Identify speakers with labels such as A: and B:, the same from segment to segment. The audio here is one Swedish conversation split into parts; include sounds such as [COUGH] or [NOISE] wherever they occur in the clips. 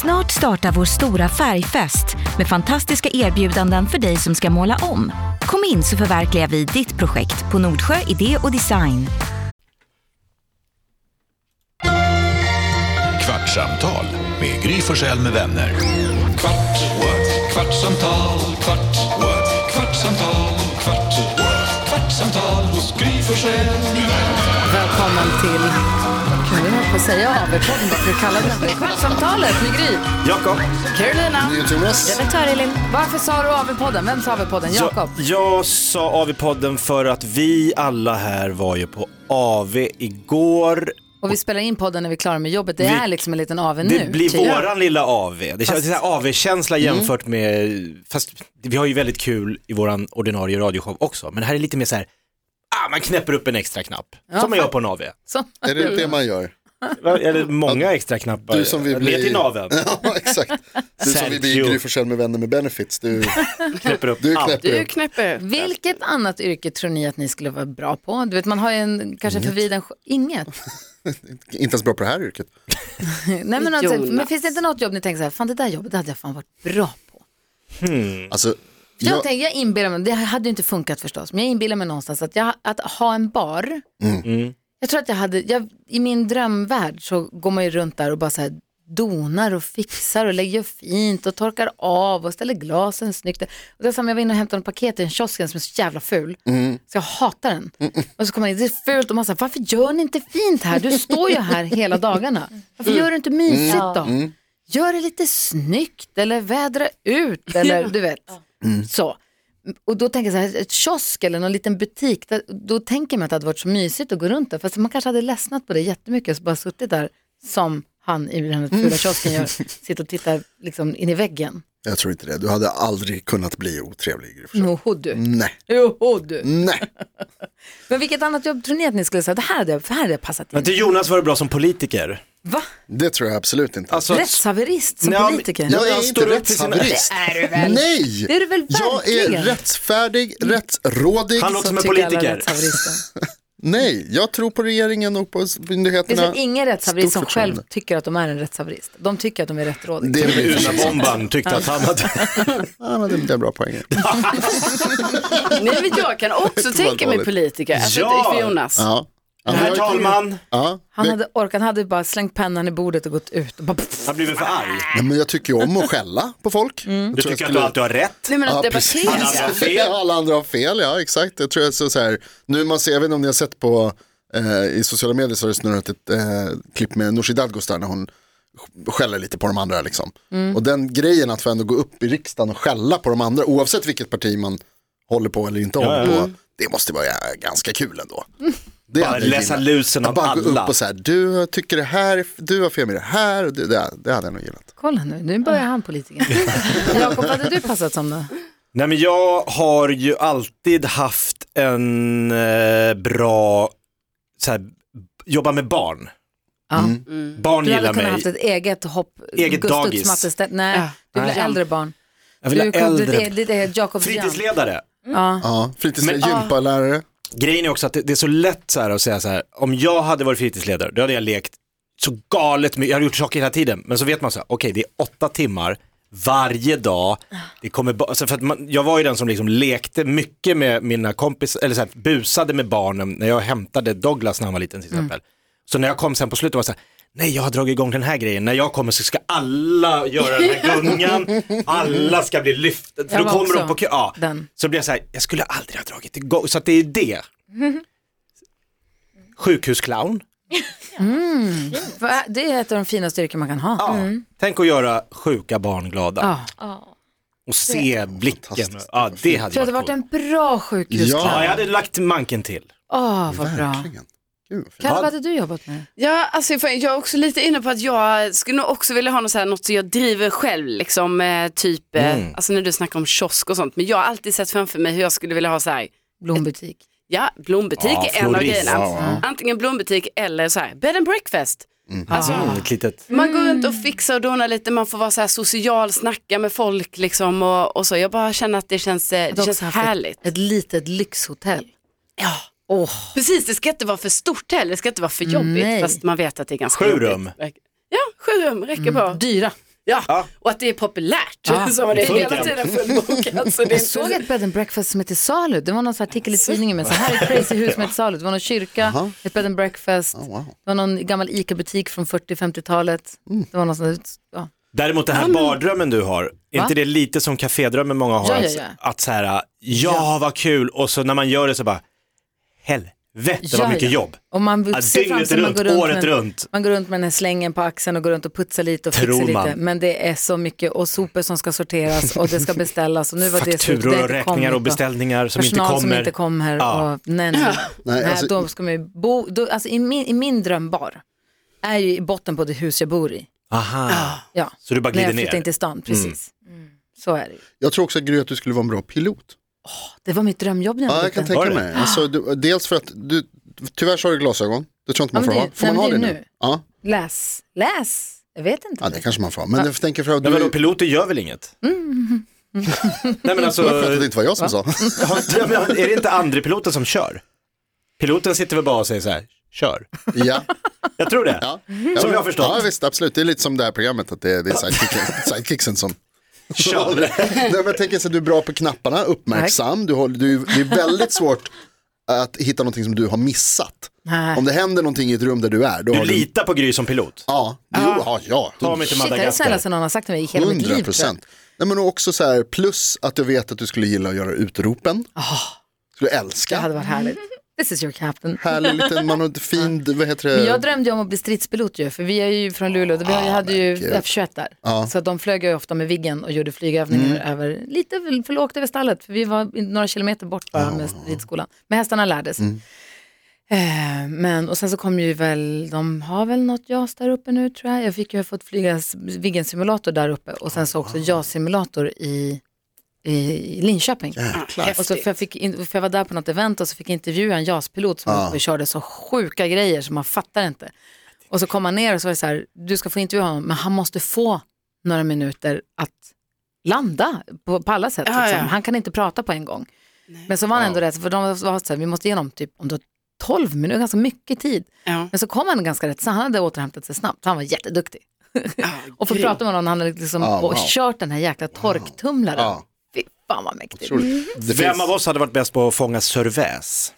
A: Snart startar vår stora färgfest med fantastiska erbjudanden för dig som ska måla om. Kom in så förverkligar vi ditt projekt på Nordsjö Idé och Design.
B: Kvartsamtal med Gry Forssell med vänner. Kvart, what? kvartsamtal, kvart, what? kvartsamtal, kvart, what? kvartsamtal hos Gry Forssell med vänner.
C: Välkommen till, kan vi höll på att säga avelpodden, varför vi kallar den det? Kvartsamtalet med Gry.
D: Jakob.
C: Carolina.
D: Jonas.
C: Redaktör Elin. Varför sa du avelpodden? Vem sa avelpodden?
D: Jag,
C: Jakob.
D: jag sa av i podden för att vi alla här var ju på AV igår.
C: Och vi spelar in podden när vi är klara med jobbet. Det
D: Vi-
C: är liksom en liten AV nu. Mm.
D: Det blir
C: tjejer.
D: våran lilla AV. Det känns en AV-känsla jämfört med, fast vi har ju väldigt kul i våran ordinarie radioshow också, men det här är lite mer så här, ah, man knäpper upp en extra knapp, som man gör på en AV.
C: Så.
E: Är det det man gör?
D: Eller många extra knappar.
E: Du som vill bli...
D: Ner till naveln,
E: [LAUGHS] ja, exakt. Du som vill bli
D: Sergio.
E: Gry Forssell med vänner med benefits. Du,
D: knäpper upp
E: du
D: allt.
E: knäpper
F: Du
E: upp.
F: knäpper ut.
C: Vilket annat yrke tror ni att ni skulle vara bra på? Du vet, man har ju en, kanske en förvriden... Inget? [LAUGHS]
E: Inte ens bra på det här yrket.
C: Nej, men, alltså, men
F: Jonas.
C: finns det inte något jobb ni tänker så här, fan det där jobbet det hade jag fan varit bra på?
E: Alltså,
C: Mm. Jag,
E: jag,
C: tänker, jag inbillar mig, det hade ju inte funkat förstås, men jag inbillar mig någonstans att, jag, att ha en bar, jag tror att jag hade, jag, i min drömvärld så går man ju runt där och bara så här donar och fixar och lägger fint och torkar av och ställer glasen snyggt. Och det är som jag var inne och hämtade en paket i en kiosken som är så jävla ful. Så jag hatar den. Och så kommer man in, det är fult och man säger, varför gör ni inte fint här? Du står ju här hela dagarna. Varför gör du inte mysigt då? Gör det lite snyggt eller vädra ut eller du vet. Så. Och då tänker jag så här, ett kiosk eller någon liten butik, där, då tänker man att det hade varit så mysigt att gå runt där. Fast man kanske hade ledsnat på det jättemycket och så bara suttit där som han i den här fula kiosken
D: [LAUGHS]
C: gör, sitter och tittar liksom in i väggen.
E: jag tror inte det. Du hade aldrig kunnat bli otrevlig Gry Forssell.
C: Joho du.
E: Nej,
C: Joho du.
E: nej.
C: Men vilket annat jobb tror ni att ni skulle säga, det här hade jag, för här hade jag passat
D: Men
C: in.
D: till Jonas var det bra som politiker.
C: Va?
E: Det tror jag absolut inte.
D: Alltså,
C: Rättshaverist som
D: Nej, men-
C: politiker?
D: Ja,
E: jag
D: jag
E: är inte
D: står upp för sina-
E: rättshaverist.
C: är du
E: Nej!
C: Det är du väl
E: jag är
C: verkligen. Mm.
E: rättsfärdig, rättsrådig.
D: han låter som en
C: Tycker alla
D: politiker.
C: rättshaverister.
D: [LAUGHS]
E: Nej, jag tror på regeringen och på
C: Det
E: myndigheterna.
C: finns ingen rättshaverist som
E: Stort
C: själv
E: förtroende.
C: tycker att de är en rättshaverist. De tycker att de är rättrådiga.
E: Det är
D: Unabomban tyckte att han hade...
E: Ja, men det det är bra poänger.
F: Nej, men
D: [LAUGHS]
F: jag kan också tänka mig
E: vanligt.
F: politiker. Alltså,
D: Ja.
F: för Jonas.
E: Ja. Ja, men
D: Herr
E: jag-
D: talman,
E: Ja.
C: Han hade orkat, han hade bara slängt pennan i bordet och gått ut. Och bara,
D: han blev för arg.
E: Nej, men jag tycker ju om att skälla på folk.
D: Du
E: Jag tror jag
D: tycker att
E: skulle-
D: du alltid har rätt.
F: Nej, men att
E: Ja, precis.
F: debattera.
D: Alla andra. fel.
E: [LAUGHS] Ja, alla andra har fel, ja exakt. Jag tror jag så, så här, nu man ser, jag vet inte om ni har sett på, eh, i sociala medier så har det snurrat ett eh, klipp med Nooshi Dadgostar när hon sk- skäller lite på de andra liksom. Och den grejen att få ändå gå upp i riksdagen och skälla på de andra, oavsett vilket parti man håller på eller inte håller på,
D: Mm.
E: det måste vara eh, ganska kul ändå. Det
D: Bara
E: hade jag
D: läsa
E: gillat.
D: lusen
E: Att
D: av
E: bara gå
D: alla.
E: upp och så här, du tycker det här, är f- du har fel med det här, och det, det, det hade jag nog gillat.
C: Kolla nu, nu börjar han
D: [LAUGHS]
C: politikern. Jakob, vad hade du passat som
D: Mm,
C: då?
D: Nej men jag har ju alltid haft en eh, bra, så här, b- jobba med barn.
C: Ja.
D: Barn
C: Mm. Du hade
D: gillar
C: kunnat
D: mig.
C: haft ett eget hopp.
D: Eget
C: Gustavs
D: dagis.
C: mattestä- Nej,
F: Ja.
C: du blir
D: Nej.
C: äldre barn.
D: Jag vill ha
C: du, kom- du,
D: äldre.
C: det, det, det är Jakob Jan.
D: Fritidsledare.
C: Ja.
E: Ja, fritidsledare,
C: ah,
D: Men-
E: gympalärare.
D: Grejen är också att det, det är så lätt så här att säga så här, om jag hade varit fritidsledare, då hade jag lekt så galet mycket, jag hade gjort saker hela tiden. Men så vet man så här, okej det är åtta timmar varje dag. Det kommer ba- alltså för att man, jag var ju den som liksom lekte mycket med mina kompisar, eller så här, busade med barnen när jag hämtade Douglas när han var liten
C: Mm.
D: till exempel. Så när jag kom sen på slutet var det så här, nej jag har dragit igång den här grejen, när jag kommer så ska alla göra den
C: [LAUGHS]
D: här gungan, alla ska bli lyfta, för
C: Jag
D: då
C: var
D: kommer
C: också
D: de på kö. Ja.
C: den.
D: Så blir jag så här, jag skulle aldrig ha dragit igång, så att det
C: [LAUGHS]
D: är det. Sjukhusclown.
C: Va? äh, Det är ett av de finaste yrken man kan ha.
D: Ja. Mm. Tänk att göra sjuka barn glada
C: Ja.
D: och se blicken. Ja, det hade
C: Jag tror att det
D: varit
C: varit
D: coolt.
C: en bra sjukhusklass.
D: Ja,
C: Åh,
D: jag hade lagt manken till.
C: vad bra.
E: Verkligen. Gud, vad fint.
C: Kalle, vad hade du jobbat med?
F: Ja, alltså, fan, jag är också lite inne på att jag skulle nog också vilja ha något, så här, något som jag driver själv. Liksom, eh, typ, eh, alltså, när du snackar om kiosk och sånt. Men jag har alltid sett framför mig hur jag skulle vilja ha så här,
C: Blombutik.
F: ja, blombutik
D: Ja,
F: är en av
D: florist.
F: grejerna.
E: Ja.
F: Antingen blombutik eller så här, bed and breakfast.
D: Alltså, ett litet...
F: Man går runt och
C: Mm.
F: fixar och donar lite, man får vara så här social, snacka med folk liksom och, och så. Jag bara känner att det känns, eh, det
C: Hade
F: känns
C: också haft ett-
F: härligt.
C: Ett litet lyxhotell.
F: Ja.
C: Åh,
F: Precis, det ska inte vara för stort heller, det ska inte vara för jobbigt.
C: Nej.
F: Fast man vet att det är ganska
D: Sju
F: jobbigt.
D: rum.
F: Ja, sju rum räcker bra.
C: Mm. dyra.
F: Ja, och att det är populärt. så det är hela tiden fullbokat. Så det är
C: Jag såg ett bed and breakfast som hette Salu. Det var någon sån här artikel i tidningen med Alltså, så här är ett crazy hus med ett salu. Det var någon kyrka, ett bed and breakfast. Det var någon gammal ICA-butik från 40-50-talet. Det var någon sån där, ja.
D: Däremot den här bardrömmen du har, är inte det lite som kafédrömmen många har?
C: Ja, ja,
D: att-
C: ja.
D: Att så här, ja, vad kul, och så när man gör det så bara, helvete
C: Ja,
D: vad mycket
C: ja.
D: jobb.
C: Och man
D: Ja,
C: ser framför
D: dygnet
C: sig att man
D: runt,
C: går runt
D: året
C: med,
D: runt.
C: Man går runt med den här slängen på axeln och går runt och putsar lite och
D: Tror
C: fixar lite.
D: man.
C: Men det är så mycket och sopor som ska sorteras och det ska beställas. Och nu var det slut, det
D: Fakturor och
C: kom
D: räkningar
C: inte.
D: och beställningar som inte
C: Personal
D: kommer.
C: som inte kommer.
D: Ja.
C: Och, nej, nej. nej,
E: alltså-
C: då ska man ju bo, då, alltså, i, min, I min drömbar är ju i botten på det hus jag bor i.
D: Aha,
C: Ja.
D: så du bara
C: När
D: glider
C: jag flyttade
D: ner.
C: in till stan, precis. Mm. Så är det ju.
E: Jag tror också Gry att du skulle vara en bra pilot.
C: Det var mitt drömjobb när jag
E: Ja,
C: var
E: jag kan
C: liten.
D: Var
E: tänka
D: det?
E: mig. Alltså, du, dels för att du, tyvärr så har du glasögon. Det tror jag inte man
C: Ja, men
E: får
C: det-
E: ha. Får
C: nej,
E: man ha
C: men
E: det
C: det
E: nu?
C: är nu.
E: Ja.
C: Läs, läs. Jag vet inte.
E: ja, det kanske man får ha. Men jag tänker för att du... Mm.
D: Men vadå, piloter gör väl inget?
E: [LAUGHS]
D: Nej men alltså,
E: Jag vet att det inte var jag
C: [LAUGHS]
E: som sa.
D: har- ja, men är det inte andre piloten som kör? Piloten sitter väl bara och säger så här, kör.
E: ja.
D: Jag tror det.
E: [LAUGHS] Ja.
D: Som jag har förstått.
E: Ja, visst, absolut. Det är lite som det här programmet, att det, det är [LAUGHS] sidekicken, sidekicksen som...
D: Kör.
E: [LAUGHS] Nej, men jag tänker så att du är bra på knapparna, uppmärksam. Du håller, du, det är väldigt svårt att hitta någonting som du har missat.
C: Nej.
E: Om det händer någonting i ett rum där du är, då
D: Du
E: har du...
D: litar på Gry som pilot.
E: Ja, jo, ja, ja.
D: Ta mig till
C: Shit, det är det
D: Madagaskar.
C: snällaste någon har sagt till mig i hela mitt liv. tror
E: 100
C: jag.
E: procent. Nej men också så här, plus att jag vet att du skulle gilla att göra utropen. Skulle
C: Ah. Det
E: älska.
C: hade varit härligt. This is your captain.
E: Härlig liten, man har
C: [LAUGHS]
E: ett fint, vad heter det?
C: Men jag drömde ju om att bli stridspilot ju, för vi är ju från Luleå, vi har- jag hade ju
E: gud.
C: F21 där. Så att de flög ju ofta med Viggen och gjorde flygövningar över, lite väl- för lågt över stallet, för vi var i- några kilometer bort bara med ridskolan. Men hästarna lärdes. Eh, men, och sen så kom ju väl, de har väl något JAS där uppe nu tror jag. Jag fick ju fått flyga s- Viggen-simulator där uppe och sen så också JAS-simulator i, i i Linköping. Och så,
F: häftigt.
C: för, jag fick in, för jag var där på något event och så fick jag intervjua en JAS-pilot som ah. körde så sjuka grejer som man fattar inte. Och så kom han ner och så var det så här, du ska få intervjua honom, men han måste få några minuter att landa på, på alla sätt.
F: Ja,
C: liksom.
F: ja.
C: Han kan inte prata på en gång. Men så var han ändå rätt, för de var så här, vi måste igenom typ om det var 12 minuter, ganska mycket tid.
F: Ja.
C: Men så kom han ganska rätt, så han hade återhämtat sig snabbt, han var jätteduktig. Och få
F: grym.
C: prata med honom, han hade liksom
E: Ja,
C: och
E: wow.
C: kört den här jäkla torktumlaren.
E: Ja.
C: Fy fan vad mäktigt.
E: Otroligt. Det
D: Vem
E: finns-
D: av oss hade varit bäst på att fånga cerväs?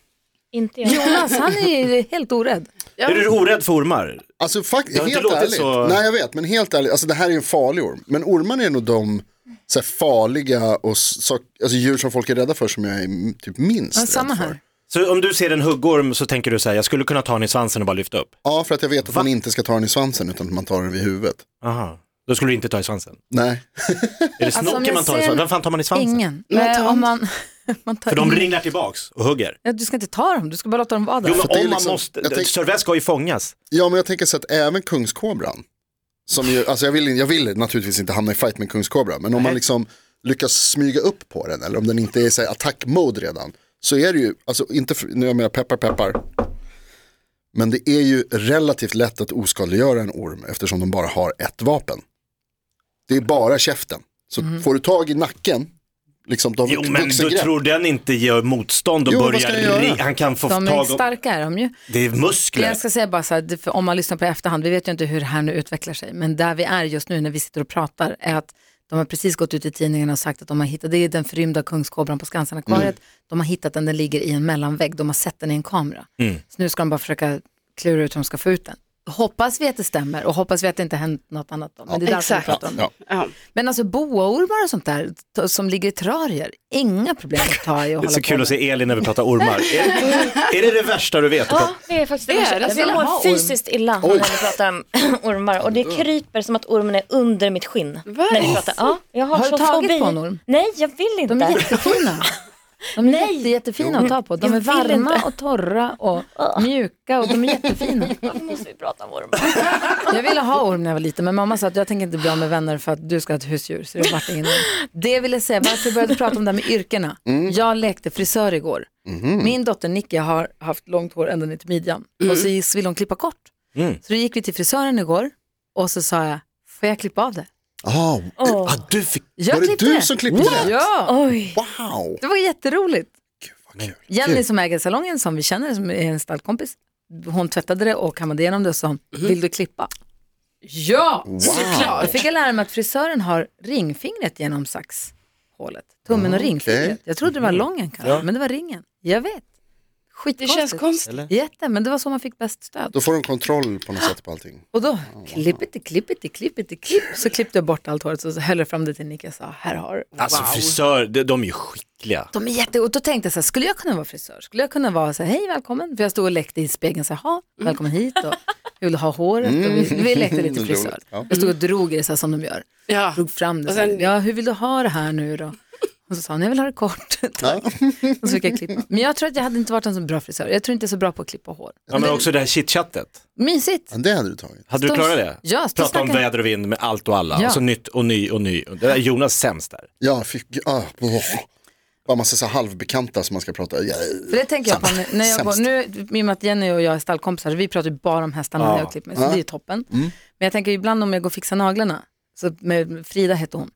G: Inte jag.
C: Jonas, han är ju helt orädd.
D: Är du orädd för ormar?
E: Alltså
D: Det
E: faktiskt,
D: har inte
E: helt
D: låtit
E: ärligt.
D: så.
E: Nej jag vet, men helt ärligt, alltså det här är ju en farlig orm. Men ormarna är nog de så här, farliga och så, alltså, djur som folk är rädda för som jag är mm, typ minst
C: Ja,
E: rädd
C: samma
E: för.
C: här.
D: Alltså, Så om du ser en huggorm så tänker du så här, jag skulle kunna ta den i svansen och bara lyfta upp?
E: Ja, för att jag vet att man inte ska ta den i svansen utan att man tar den vid huvudet.
D: Aha. Då skulle du inte ta i svansen?
E: Nej,
D: Är det
C: Alltså, om
D: snoken
C: jag
D: man tar
C: ser
D: i svansen?
C: en-
D: Vem fan tar man i svansen?
C: Ingen.
F: Man
C: Nej,
F: tar
C: om
F: inte-
C: man, [LAUGHS] man tar
D: För de
C: in-
D: ringlar tillbaks och hugger.
C: Ja, Du ska inte ta dem, du ska bara låta dem vara där.
D: Jo men
E: För det är
D: om man
E: liksom-
D: måste,
E: jag tänk-
D: cerväs ska ju fångas.
E: ja men jag tänker så att även kungskobran, som ju, alltså jag vill, in- jag vill naturligtvis inte hamna i fight med kungskobran, men om man liksom lyckas smyga upp på den eller om den inte är i så här attack-mode redan, så är det ju, alltså inte, för, nu är jag med peppar peppar, men det är ju relativt lätt att oskadliggöra en orm eftersom de bara har ett vapen. Det är bara käften. Så får du tag i nacken, liksom de
D: Mhm. Jo men du tror den inte gör motstånd och
E: Jo, vad ska
D: börjar,
E: den göra?
D: ri- han kan få
C: De är
D: tag om,
C: starka är de ju.
D: det är
C: Det
D: muskler.
C: jag ska säga bara så här, det- för om man lyssnar på i efterhand, vi vet ju inte hur det här nu utvecklar sig, men där vi är just nu när vi sitter och pratar är att de har precis gått ut i tidningarna och sagt att de har hittat, det är den förrymda kungskobran på Skansenakvariet,
D: Mm.
C: de har hittat den, den ligger i en mellanvägg, de har sett den i en kamera.
D: Mm.
C: Så nu ska de bara försöka klura ut hur de ska få ut den. Hoppas vi att det stämmer och hoppas vi att det inte hänt något annat då, men det är därför vi
F: exakt.
C: pratar om det.
E: Ja.
F: Ja.
C: Men alltså boaormar och sånt där t- som ligger i terrarier, inga problem att ta i och
D: Det är
C: hålla
D: så
C: på
D: kul
C: med.
D: att se Elin när vi pratar ormar. är,
C: [LAUGHS]
D: är det det värsta du vet?
G: Ja, det är faktiskt det, värsta.
F: är det.
G: Alltså, jag
C: Vill ha
G: mår
C: orm. Mm.
G: fysiskt illa
E: Oj.
G: när vi pratar om [LAUGHS] ormar och det kryper som att ormen är under mitt skinn. När vi pratar. Ja, jag har,
C: Har du
G: sån
C: tagit
G: fobi.
C: på en orm?
G: Nej, jag vill inte.
C: De är jättefina. De är
G: Nej.
C: jätte, jättefina att ta på. De
G: Jag
C: är
G: vill
C: varma
G: inte. Ah.
C: och torra och mjuka och de är jättefina.
G: [LAUGHS] Varför måste vi prata om ormar?
C: [LAUGHS] Jag ville ha orm när jag var liten men mamma sa att jag tänker inte bli av med vänner för att du ska ha ett husdjur. Så det vart ingen orm. Det vill jag säga, varför jag började prata om det här med yrkena.
D: Mm.
C: Jag lekte frisör igår.
D: Mhm.
C: Min dotter Nicky har haft långt hår ända ner till midjan
D: Mm.
C: och så gick- så ville hon klippa kort. Så då gick vi till frisören igår och så sa jag, får jag klippa av det?
E: Ah,
G: Åh,
D: Ah, du fick,
C: Jag
E: var det
C: klippte
E: du
C: det.
E: som klippte det?
C: Ja,
G: Oj,
E: Wow!
C: det var jätteroligt.
E: Vad kul.
C: Jenny som äger salongen som
E: Mhm.
C: vi känner, som är en stallkompis, hon tvättade det och kammade igenom det och sa, vill du klippa? Ja,
E: Ah.
C: såklart. Då fick jag lära mig att frisören har ringfingret genom saxhålet. Tummen och ringfingret.
E: okej. Mhm.
C: Jag trodde det var lången kanske, men det var ringen. Jag vet.
F: Det
C: Skitkonstigt.
F: känns konstigt.
C: Jätte, men det var så man fick bäst stöd.
E: Då får de kontroll på
D: Ah.
E: något sätt på allting.
C: Och då,
E: Ah.
C: klippeti, klippeti, klippeti, klipp, så klippte jag bort allt håret och så höll jag fram det till Nick och sa, här har du.
D: Alltså frisör, de, de är ju skickliga.
C: De är jätte... Och då tänkte jag så här, skulle jag kunna vara frisör? Skulle jag kunna vara så här, hej välkommen? För jag stod och lekte i spegeln så här, ha, välkommen hit och jag vill ha håret. Och vi, vi lekte lite
E: Mm,
C: frisör.
E: roligt, ja.
C: Jag stod och drog i det så här som de gör.
F: Ja.
C: Drog fram det
F: Och
C: så här,
F: sen-
C: ja hur vill du ha det här nu då? Och så sa han, jag vill ha det kort. [LAUGHS] Tack. och så fick jag klippa. Men jag tror att jag hade inte varit en så bra frisör. Jag tror inte jag är så bra på att klippa hår.
D: Ja, men också det här chitchattet.
C: Mysigt.
E: Men det hade du tagit.
D: Hade du
C: Stå-
D: klarat det?
C: Ja, stå och
D: Prata om
C: snacka.
D: väder och vind med allt och alla.
C: Ja.
D: Alltså nytt och ny och ny. Det där är Jonas sämst där.
E: Ja, fick, ah, åh. Bara massa så här halvbekanta som man ska prata. Ja,
C: För det tänker jag på
E: Sämst.
C: när- när jag går,
E: Sämst.
C: nu, i och med att Jenny och jag är stallkompisar, så vi pratar ju bara om hästarna när jag klipper mig, så det är ju toppen.
E: Mm.
C: Men jag tänker ibland om jag går och fixar naglarna, så med Frida hette hon,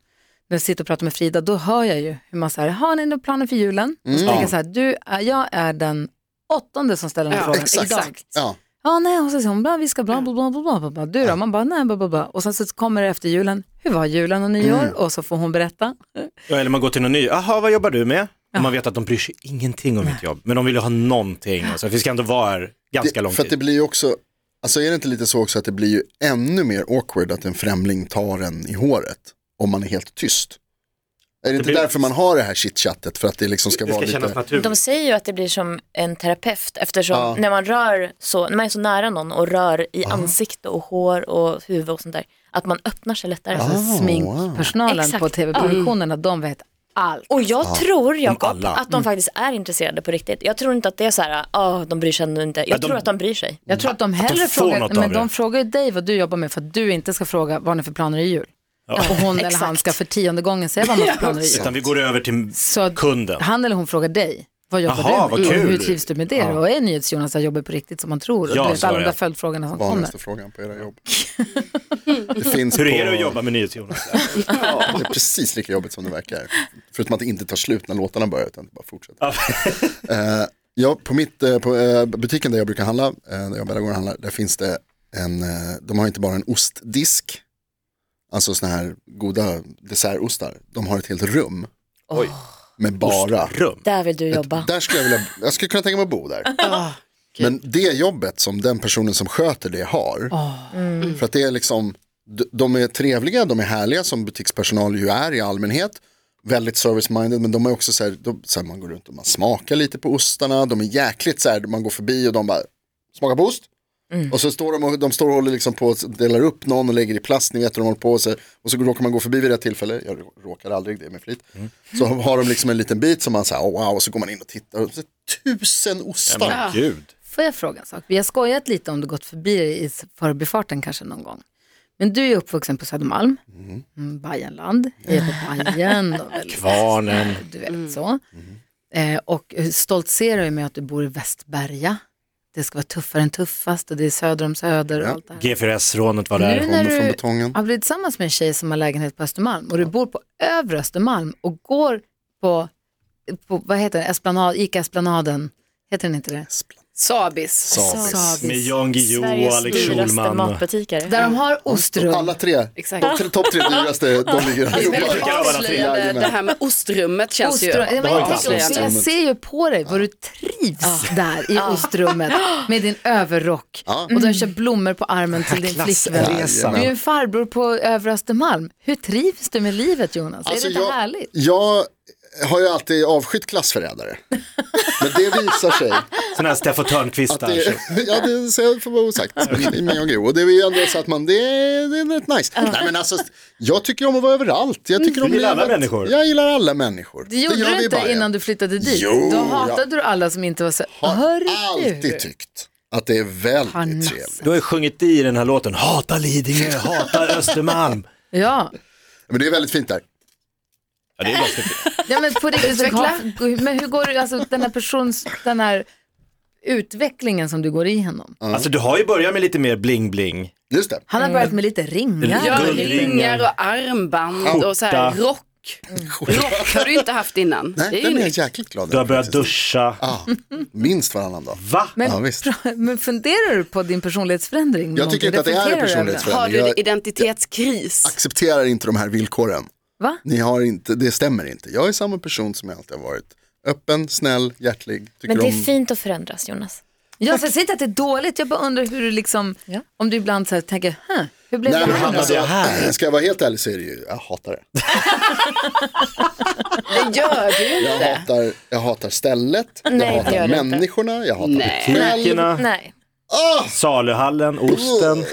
C: när jag sitter och pratar med Frida, då hör jag ju hur man säger, har ni några planer för julen? Och så
E: Mm.
C: tänker jag så här, du, är- jag är den åttonde som ställer den
F: Ja,
C: frågan
E: exakt.
C: idag.
E: ja.
C: Ja, nej, och så säger hon, bla, vi ska bla, bla, bla, bla, bla, bla, bla. Du då? Man bara, nej, bla, bla, bla. Och sen så kommer det efter julen, hur var julen och nyår?
E: Mm.
C: Och så får hon berätta.
D: Ja, Eller man går till någon ny, jaha vad jobbar du med? Och man vet att de bryr sig ingenting om mitt jobb, men de vill ju ha någonting. Och så, vi ska ändå vara här ganska lång
E: Det, för att det
D: tid.
E: blir ju också, alltså är det inte lite så också att det blir ju ännu mer awkward att en främling tar en i håret om man är helt tyst. Är det, inte
D: blir-
E: därför man har det här chitchattet för att det liksom ska
D: Det
E: vara
D: ska kännas
E: lite,
D: naturligt.
G: De säger ju att det blir som en terapeut eftersom
E: Ja.
G: när man rör så, när man är så nära någon och rör i ansikte och hår och huvud och sånt där, att man öppnar sig lättare.
E: Ah.
C: Sminkpersonalen
G: Exakt.
C: på tv-produktionerna, de vet allt.
G: Och jag tror, Jakob,
D: alla.
C: Mm.
G: att de faktiskt är intresserade på riktigt. Jag tror inte att det är så här, ah, de bryr sig ändå inte. Jag
D: Ja, de-
G: tror att de bryr sig.
C: Jag tror att de hellre
D: får något
C: frågar,
D: av
C: men
D: det.
C: de frågar ju dig vad du jobbar med för att du inte ska fråga vad ni har för planer i jul. Och hon eller han
G: Exakt.
C: ska för tionde gången säga vad man har för planer i jul.
D: Utan vi går över till
C: Så att
D: kunden.
C: han eller hon frågar dig, vad jobbar
D: Jaha,
C: du
D: vad
C: med?
D: kul.
C: Och hur trivs du med det? Och är NyhetsJonas där jobbar på riktigt som man tror?
D: Ja,
C: och du vet
D: så
C: alla
D: är
C: de där
D: det.
C: följdfrågorna som kommer.
E: vanligaste frågan på era jobb? Det finns
D: Hur
E: på,
D: är det att jobba med NyhetsJonas?
E: Ja, det är precis lika jobbigt som det verkar. Förutom att det inte tar slut när låtarna börjar utan det bara fortsätter. [LAUGHS] Eh, ja, på, mitt, eh, på eh, butiken där jag brukar handla, eh, där jag bara går och handlar, där finns det en, eh, de har inte bara en ostdisk, alltså sådana här goda dessertostar, de har ett helt rum med bara
D: Rum.
G: Där vill du jobba.
E: Där skulle jag vilja, jag skulle kunna tänka mig att bo där. Men det jobbet som den personen som sköter det har, för att det är liksom, d- de är trevliga, de är härliga som butikspersonal ju är i allmänhet, väldigt service-minded, men de är också så här, de, så här, man går runt och man smakar lite på ostarna, de är jäkligt så här, man går förbi och de bara, smaka på ost?
F: Mm.
E: Och så står de och, de står och håller liksom på och delar upp någon och lägger i plast, ni vet hur de håller på. Och så, och så råkar man gå förbi vid det tillfälle, jag råkar aldrig det med flit. Så har de liksom en liten bit som man säger, oh, wow, och så går man in och tittar. Och så, tusen ostar!
D: Men gud.
C: Får jag fråga en sak? Vi har skojat lite om du gått förbi det i förbifarten kanske någon gång. Men du är uppvuxen på Södermalm, mm. Bajenland, är på Bajen
D: [LAUGHS]
C: och väldigt
D: Kvarnen.
C: [LAUGHS] du vet så. Eh, och stoltserar ju med att du bor i Västberga. Det ska vara tuffare än tuffast och det är söder om söder och allt det här.
D: G4S-rånet var där.
C: Nu när
E: kommer från
C: du
E: betongen.
C: har blivit tillsammans med en tjej som har lägenhet på Östermalm och du bor på övre Östermalm och går på, på vad heter det, Esplanad, Ica Esplanaden, heter den inte det?
F: Sabis.
E: Sabis.
D: Med Jan Guillou och
G: Sveriges
D: Alex
G: dyraste
D: Schulman.
G: matbutiker.
C: Där de har ostrum.
E: Alla tre,
F: Exakt.
E: topp tre, top tre dyraste, de ligger här.
F: Det
D: tycker jag var
F: är avslöjande.
E: Jajamän.
F: Det här med ostrummet känns
C: Ostrum,
F: ju...
C: ja, men jag,
D: ju
C: tänker också, jag
E: ostrummet.
C: ser ju på dig vad du trivs där i ostrummet med din överrock och du har köpt blommor på armen till din flickvän.
D: Klassresan.
C: Du är ju en farbror på Övre Östermalm. Hur trivs du med livet Jonas? är det inte
E: Alltså, jag,
C: härligt?
E: Jag har ju alltid avskytt
F: [LAUGHS]
E: klassförrädare. Men det visar sig.
D: Sådana här Steffo Törnqvistar.
E: Det, [LAUGHS] ja, det så jag får vara osagt.
D: [LAUGHS]
E: Men jag gror. Och det är ju ändå så att man, det, är- det är rätt nice. Nej, men alltså, jag tycker om att vara överallt. Jag tycker om
D: gillar alla
E: livet.
D: människor.
E: Jag gillar alla människor.
C: Det gjorde
E: gör vi
C: du
E: i
C: inte
E: Bayern.
C: innan du flyttade dit.
E: Jo,
C: Då
E: jag
C: hatade du alla som inte var så... Hör
E: Har alltid tyckt att det är väldigt
C: Parnassen.
E: trevligt.
D: Du har ju sjungit i den här låten, hata Lidingö, hata Östermalm.
C: Ja.
E: Men det är väldigt fint där.
D: Ja, det är bara så-
C: ja, men på riktigt. Men hur går det, alltså den här persons, den här utvecklingen som du går igenom.
D: Alltså du har ju börjat med lite mer bling-bling.
E: Just det. Mm.
C: Han har börjat med lite ringar.
D: Ja,
F: Ja,
D: Guldringar.
F: ringar och armband och så här
D: Skjorta.
F: rock rock.
C: Mm.
F: Rock har du inte haft innan.
E: Nej,
F: ju
E: den är jag
F: nytt.
E: jäkligt glad
D: Du har
E: över
D: börjat
E: faktiskt.
D: duscha.
E: Ja, minst varannan dag.
D: Va?
C: Men,
E: Ja, visst.
C: men funderar du på din personlighetsförändring?
E: Jag tycker inte att det är en
C: Reflekterar du över den?
E: personlighetsförändring.
F: Har du
E: Jag-
F: identitetskris?
E: accepterar inte de här villkoren.
C: Va?
E: Ni har inte, det stämmer inte. Jag är samma person som jag alltid har varit. Öppen, snäll, hjärtlig. Tycker
G: Men det
E: om...
G: är fint att förändras Jonas.
C: Ja, så jag säger inte att det är dåligt, jag bara undrar hur du liksom, om du ibland så här tänker, huh, hur blev
E: Nej,
C: det
E: men
C: här?
E: alltså,
D: det här?
E: [CLEARS THROAT] Ska jag vara helt ärlig så är det ju, jag hatar det.
F: Det gör du
E: Jag
F: inte.
E: hatar, jag hatar stället,
G: det
E: jag
G: gör
E: hatar
G: du inte.
E: människorna, jag hatar
F: Nej.
E: butikerna.
D: Butikerna,
G: Nej.
D: saluhallen, osten.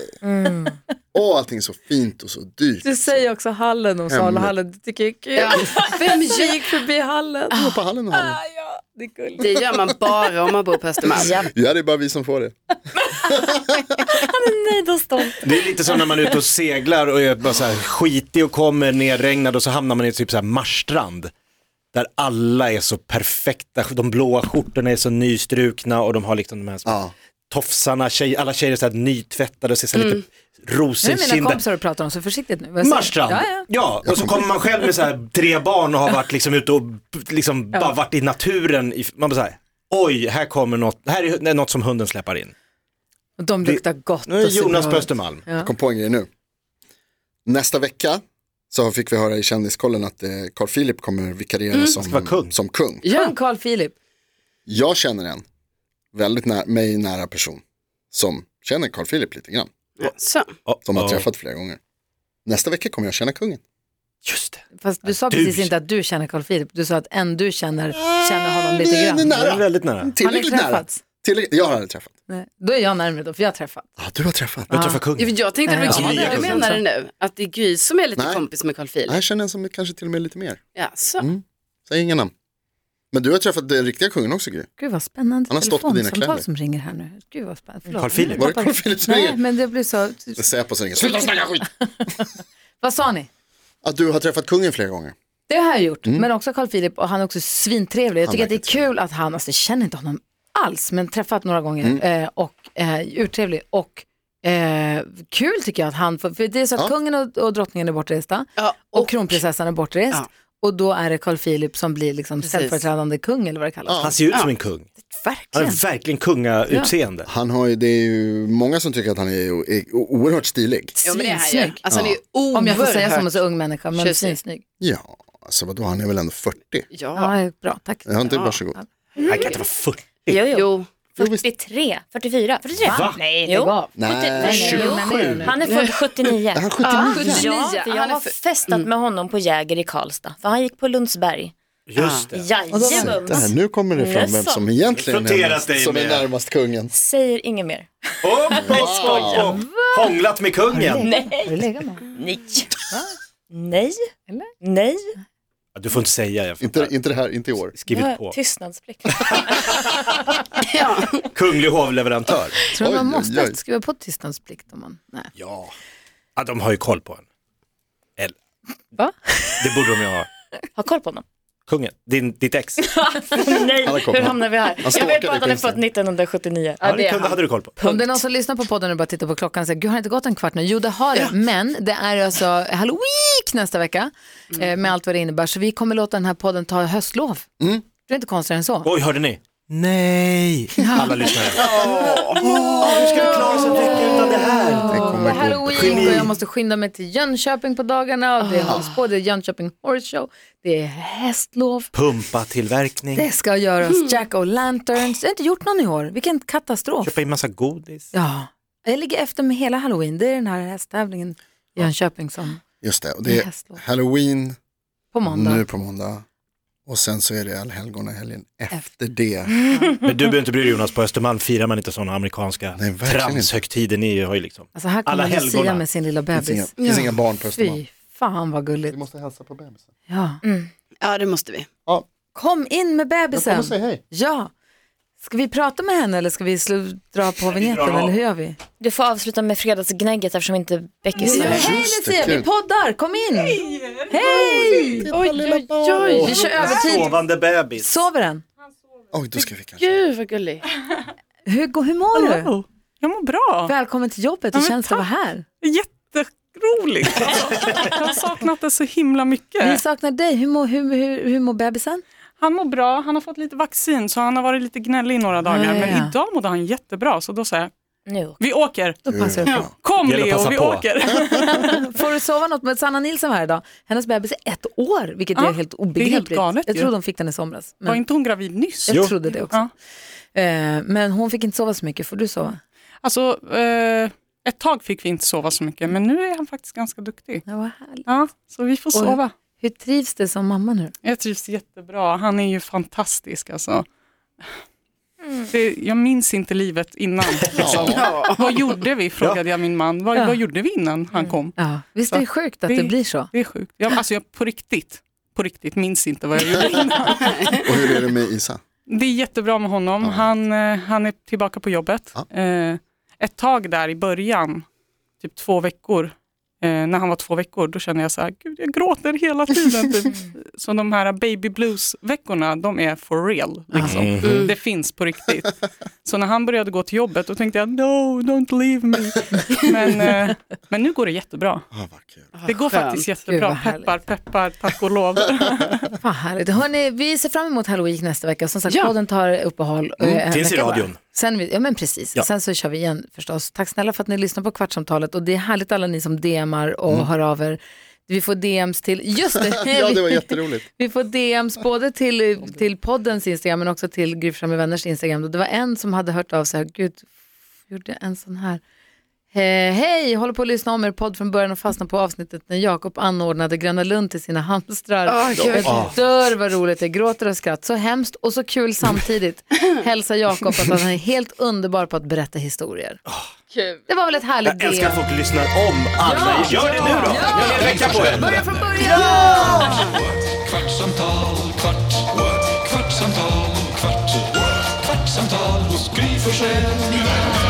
E: Åh, allting är så fint och så dyrt.
C: Du säger också hallen och saluhallen, det tycker jag är kul. Vem gick förbi hallen?
E: Jag hoppar hallen och hallen.
C: Det är kul.
F: Det gör man bara om man bor på Östermalm.
G: Ja.
E: Ja, det är bara vi som får det.
G: Nej, då stolt.
D: Det är lite som när man är ute och seglar och är bara så här skitig och kommer nerregnad och så hamnar man i typ så här marsstrand. Där alla är så perfekta, de blåa skjortorna är så nystrukna och de har liksom de här små
E: Ja.
D: tofsarna, tjej, alla tjejer är så här nytvättade och ser så här lite
C: Nu Mm. är mina
D: rosenkindade.
C: kompisar du pratar om, så försiktigt nu. Vad jag säger.
D: Marstrand.
C: Ja,
D: Ja,
C: ja.
D: och så kommer man själv med så här tre barn och har varit liksom ute och liksom bara varit i naturen. i- Man bara så här, oj, här kommer något, här är något som hunden släpar in.
C: Och de luktar gott.
D: Nu är
C: och ser
D: Jonas
C: bra
D: på
C: ut.
D: Östermalm.
E: Jag kom på en grej nu. Nästa vecka så fick vi höra i Kändiskollen att eh, Carl Philip kommer vikariera
D: vara
E: som,
D: kung.
E: som kung.
C: Kung Carl Philip.
E: Jag känner en väldigt nä mig nära person som känner Carl Philip lite grann.
F: Så.
E: Som har
D: Ja.
E: träffat flera gånger. Nästa vecka kommer jag känna kungen.
D: Just det.
C: Fast du sa
D: Du-
C: precis inte att du känner Carl Philip, du sa att en du känner, känner honom
E: Vi
C: lite
E: är
C: grann.
D: Det är
E: nära.
D: väldigt nära.
C: Har ni
E: Tillräckligt nära.
C: träffats?
E: Tillräckligt. Jag har aldrig träffat.
C: Nej. Då är jag närmare då, för jag har träffat.
E: Ja, du har träffat.
D: Jag träffar kungen.
F: Jag tänkte det
C: Nej,
F: var
D: ja.
F: Gry
D: Ja,
F: du
D: det är
F: menade nu. Att det är Gry som är lite
E: Nej.
F: kompis med Carl Philip.
E: Jag känner en som kanske till och med lite mer.
F: Ja, så.
E: Säg inga namn. Men du har träffat den riktiga kungen också Gry.
C: Gud vad spännande
E: Han har stått på dina
C: telefonsamtal
E: kläder.
C: som ringer här nu. Gud vad spännande. Förlåt.
D: Carl Philip.
E: Var det Carl Philip som
C: Nej,
E: ringer?
C: men det blir så.
E: Säpo som ringer. Sluta snacka skit!
C: Vad sa ni?
E: Att du har träffat kungen flera gånger.
C: Det har jag gjort, men också Carl Philip och han är också svintrevlig. Jag
E: Mm. Han
C: tycker att det är
E: verkar trevlig.
C: kul att han, alltså jag känner inte honom alls, men träffat några gånger
E: Mm.
C: eh, och eh, urtrevlig och eh, kul tycker jag att han, för, för det är så att
E: Ja.
C: kungen och, och drottningen är bortresta
F: Ja,
C: och,
F: och-
C: kronprinsessan är bortrest.
F: Ja.
C: Och då är det Carl Philip som blir liksom ställföreträdande kung eller vad det kallas.
D: Han ser ut som en kung. Han
C: Verkligen.
D: har verkligen kungautseende.
E: Han har ju, det är ju många som tycker att han är, o- är o- oerhört stilig.
F: Ja, men det är han ju.
C: Svinsnygg.
F: Alltså han är ju oerhört.
C: Om jag får säga som en så ung människa, men
F: Tjusig.
C: svinsnygg.
E: Ja, alltså vadå, han är väl ändå 40?
F: Ja.
C: Ja, bra, tack.
E: Ja, inte varsågod.
D: Han kan inte vara 40.
G: Jo, jo.
F: Jo.
G: 43, 44, 43.
D: Va?
G: Nej,
C: Lägg av.
E: Nej.
G: Jo. Han är född 79.
E: Är han 79?
G: Ja, för jag
F: Han är
G: har
F: för-
G: festat med honom på Jäger i Karlstad, för han gick på Lundsberg.
D: Just det.
E: Där,
G: Jajamums.
E: nu kommer det fram vem som egentligen är,
D: Fronteras dig
E: närmast- som är
D: med.
E: närmast kungen.
G: Säger inget mer.
D: Upp och skoja. Hånglat med kungen.
C: Har du legat med honom?
G: Nej. Nej. Nej.
D: Ja, Du får inte säga, jag
E: Inte,
D: fattar.
E: inte det här, inte i år.
G: Nu har
D: Skrivit
G: jag
D: på.
G: Tystnadsplikt.
D: Kunglig hovleverantör.
C: Tror du
E: Oj,
C: man
E: oj, oj.
C: måste skriva på tystnadsplikt om man... Nej.
D: Ja. ja, de har ju koll på en. Eller,
C: Va?
D: det borde de ju ha.
G: Har koll på honom.
D: Kungen, din, ditt ex.
G: Nej,
E: har koll på
G: hur
E: honom.
G: hamnar vi här? Jag
E: stalkar
G: vet
E: dig
G: bara att
E: på
G: han är
E: Instagram.
G: född 1979.
D: Ja, det kunde, hade du koll på.
C: Om det är någon som lyssnar på podden och bara tittar på klockan och säger, gud har det inte gått en kvart nu? Jo det har det, men det är alltså Halloween nästa vecka eh, med allt vad det innebär. Så vi kommer låta den här podden ta höstlov.
E: Mm.
C: Det är inte konstigare än så.
D: Oj, hörde ni? Nej, alla lyssnare. Åh, Hur ska vi klara oss en vecka utan det här?
E: Det
C: Det är
E: kommer gå.
C: Halloween och jag måste skynda mig till Jönköping på dagarna och det hålls på, det är Jönköping Horse Show, det är hästlov.
D: Pumpatillverkning,
C: Det ska
E: Mm.
C: göras Jack och Lanterns. Jag har inte gjort någon i år, vilken katastrof.
D: köpa in massa godis.
C: Ja, jag ligger efter med hela halloween. Det är den här hästtävlingen i Jönköping som
E: Just det, och det är
C: Hästlov.
E: halloween
C: på måndag.
E: nu på måndag. Och sen så är det allhelgonahelgen efter det.
D: Men du behöver inte bry dig Jonas, på Östermalm firar man inte sådana amerikanska
E: Nej, verkligen inte.
D: transhögtider. Ni har ju liksom.
C: Alltså här
D: Alla
C: kommer Lucia
D: helgona.
C: med sin lilla
E: Det finns inga,
C: bebis.
E: det finns inga barn på Östermalm.
C: Fy fan vad
E: Vi
C: gulligt.
E: måste hälsa på bebisen.
C: Ja.
F: Ja, det måste vi.
E: Ja,
C: Kom in med
E: jag kommer
C: bebisen.
E: säga hej.
C: Ja. Ska vi prata med henne eller ska vi slu- dra på vinjetten
D: av.
C: eller hur gör vi?
G: Du får avsluta med fredagsgnägget eftersom inte Beckis var här.
C: Hej
E: Just det,
C: Lucia, vi
E: kul.
C: poddar, kom in! Hej! Oj, oj, oj, vi kör övertid.
D: Sovande bebis.
C: Sover den?
E: Oj, då ska vi kanske.
F: Gud vad gullig.
C: Hur, går- hur mår du?
H: Jag mår bra.
C: Välkommen till jobbet, hur
H: men
C: känns det att vara här?
H: Jätte,
C: [LAUGHS]
H: skitroligt. Alltså. Jag har saknat det så himla
C: Vi
H: mycket.
C: saknar dig. Hur mår, hur, hur, hur mår bebisen?
H: Han mår bra, han har fått lite vaccin så han har varit lite gnällig i några dagar.
C: Ja, ja, ja.
H: Men idag mådde han jättebra så då sa jag,
G: Nu åker
H: vi åker.
C: Då passar det på.
H: Kom
D: Gäller att
H: Leo,
D: passa
H: vi
D: på.
H: åker.
C: Får du sova något med Sanna Nilsson varje dag? Hennes bebis är ett år, vilket
H: Ja,
C: är helt
H: det är helt
C: obegripligt.
H: galet
C: jag
H: ju.
C: tror de fick den i somras.
H: Var
C: Men
H: inte hon gravid nyss?
D: Jo.
C: jag trodde det också.
H: Ja.
C: Eh, Men hon fick inte sova så mycket. Får du sova?
H: Alltså, eh, ett tag fick vi inte sova så mycket men nu är han faktiskt ganska duktig.
C: Ja, vad härligt.
H: Ja, så vi får
C: Oj.
H: sova.
C: Hur trivs det som mamma nu?
H: Jag trivs jättebra. Han är ju fantastisk alltså.
C: Mm.
H: Det, jag minns inte livet innan. liksom. Vad gjorde vi, frågade jag min man. Vad,
C: Ja.
H: vad gjorde vi innan han kom?
C: Ja. Visst är det sjukt att det
H: Det-
C: blir så?
H: Det är sjukt. Jag, alltså jag på riktigt, på riktigt minns inte vad jag gjorde innan.
E: Och hur är det med Isa?
H: Det är jättebra med honom. Han, eh, han är tillbaka på jobbet. Eh, ett tag där i början, typ två veckor, eh, när han var två veckor, då kände jag så här, gud jag gråter hela
E: [LAUGHS]
H: tiden. Typ. Så de här baby blues-veckorna, de är for real. Liksom.
E: Mhm.
H: Det finns på riktigt. Så när han började gå till jobbet, då tänkte jag, no, don't leave me. Men, eh, men nu går det jättebra.
E: Ah, vad kul.
H: Det går faktiskt
C: Gud,
H: jättebra.
C: vad härligt.
H: Peppar, peppar, tack och lov.
C: Fan härligt. Hörrni, vi ser fram emot Halloween nästa vecka. Som sagt,
F: Ja.
C: podden tar uppehåll. eh, en
D: finns i
C: vecka bara.
D: radion.
C: Sen, vi- ja, men precis.
D: Ja.
C: Sen så kör vi igen förstås. Tack snälla för att ni lyssnar på Kvartsamtalet. Och det är härligt alla ni som DMar och hör av er. Vi får DMs till, just det,
E: Ja, det var
C: [LAUGHS]
E: jätteroligt.
C: vi får DMs både till, eh, till poddens Instagram men också till Gry Forssell med vänners Instagram. Och Det var en som hade hört av sig, här, gud, gjorde jag en sån här. Eh, Hej, håller på att lyssna om er podd från början och fastnar på avsnittet när Jakob anordnade Gröna Lund till sina hamstrar. jag
D: Ah.
C: dör vad roligt det är. gråter och skratt. Så hemskt och så kul samtidigt. Hälsa Jakob att han är helt underbar på att berätta historier. Det var väl ett härligt
D: Jag älskar att folk lyssnar om alla. Gör det nu då! Gör det en vecka på er.
C: Börja från början!
B: what? Kvartsamtal, kvart, what? kvartsamtal, kvart, what? kvartsamtal hos Gry Forssell med vänner.